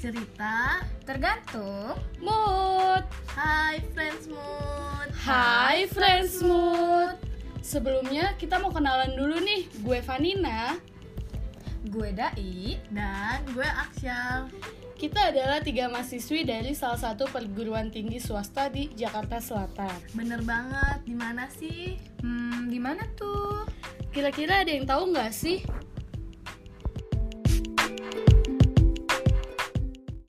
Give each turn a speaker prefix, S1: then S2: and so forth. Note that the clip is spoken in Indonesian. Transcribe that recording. S1: cerita
S2: Tergantung
S3: Mood.
S1: Hai Friends Mood
S3: Hai Friends Mood. Sebelumnya kita mau kenalan dulu nih. Gue Vanina.
S2: Gue Dai
S1: Dan gue Aksyal
S3: Kita adalah tiga mahasiswi dari salah satu perguruan tinggi swasta di Jakarta Selatan.
S1: Bener banget, di mana sih?
S2: Hmm, gimana tuh?
S3: Kira-kira ada yang tahu nggak sih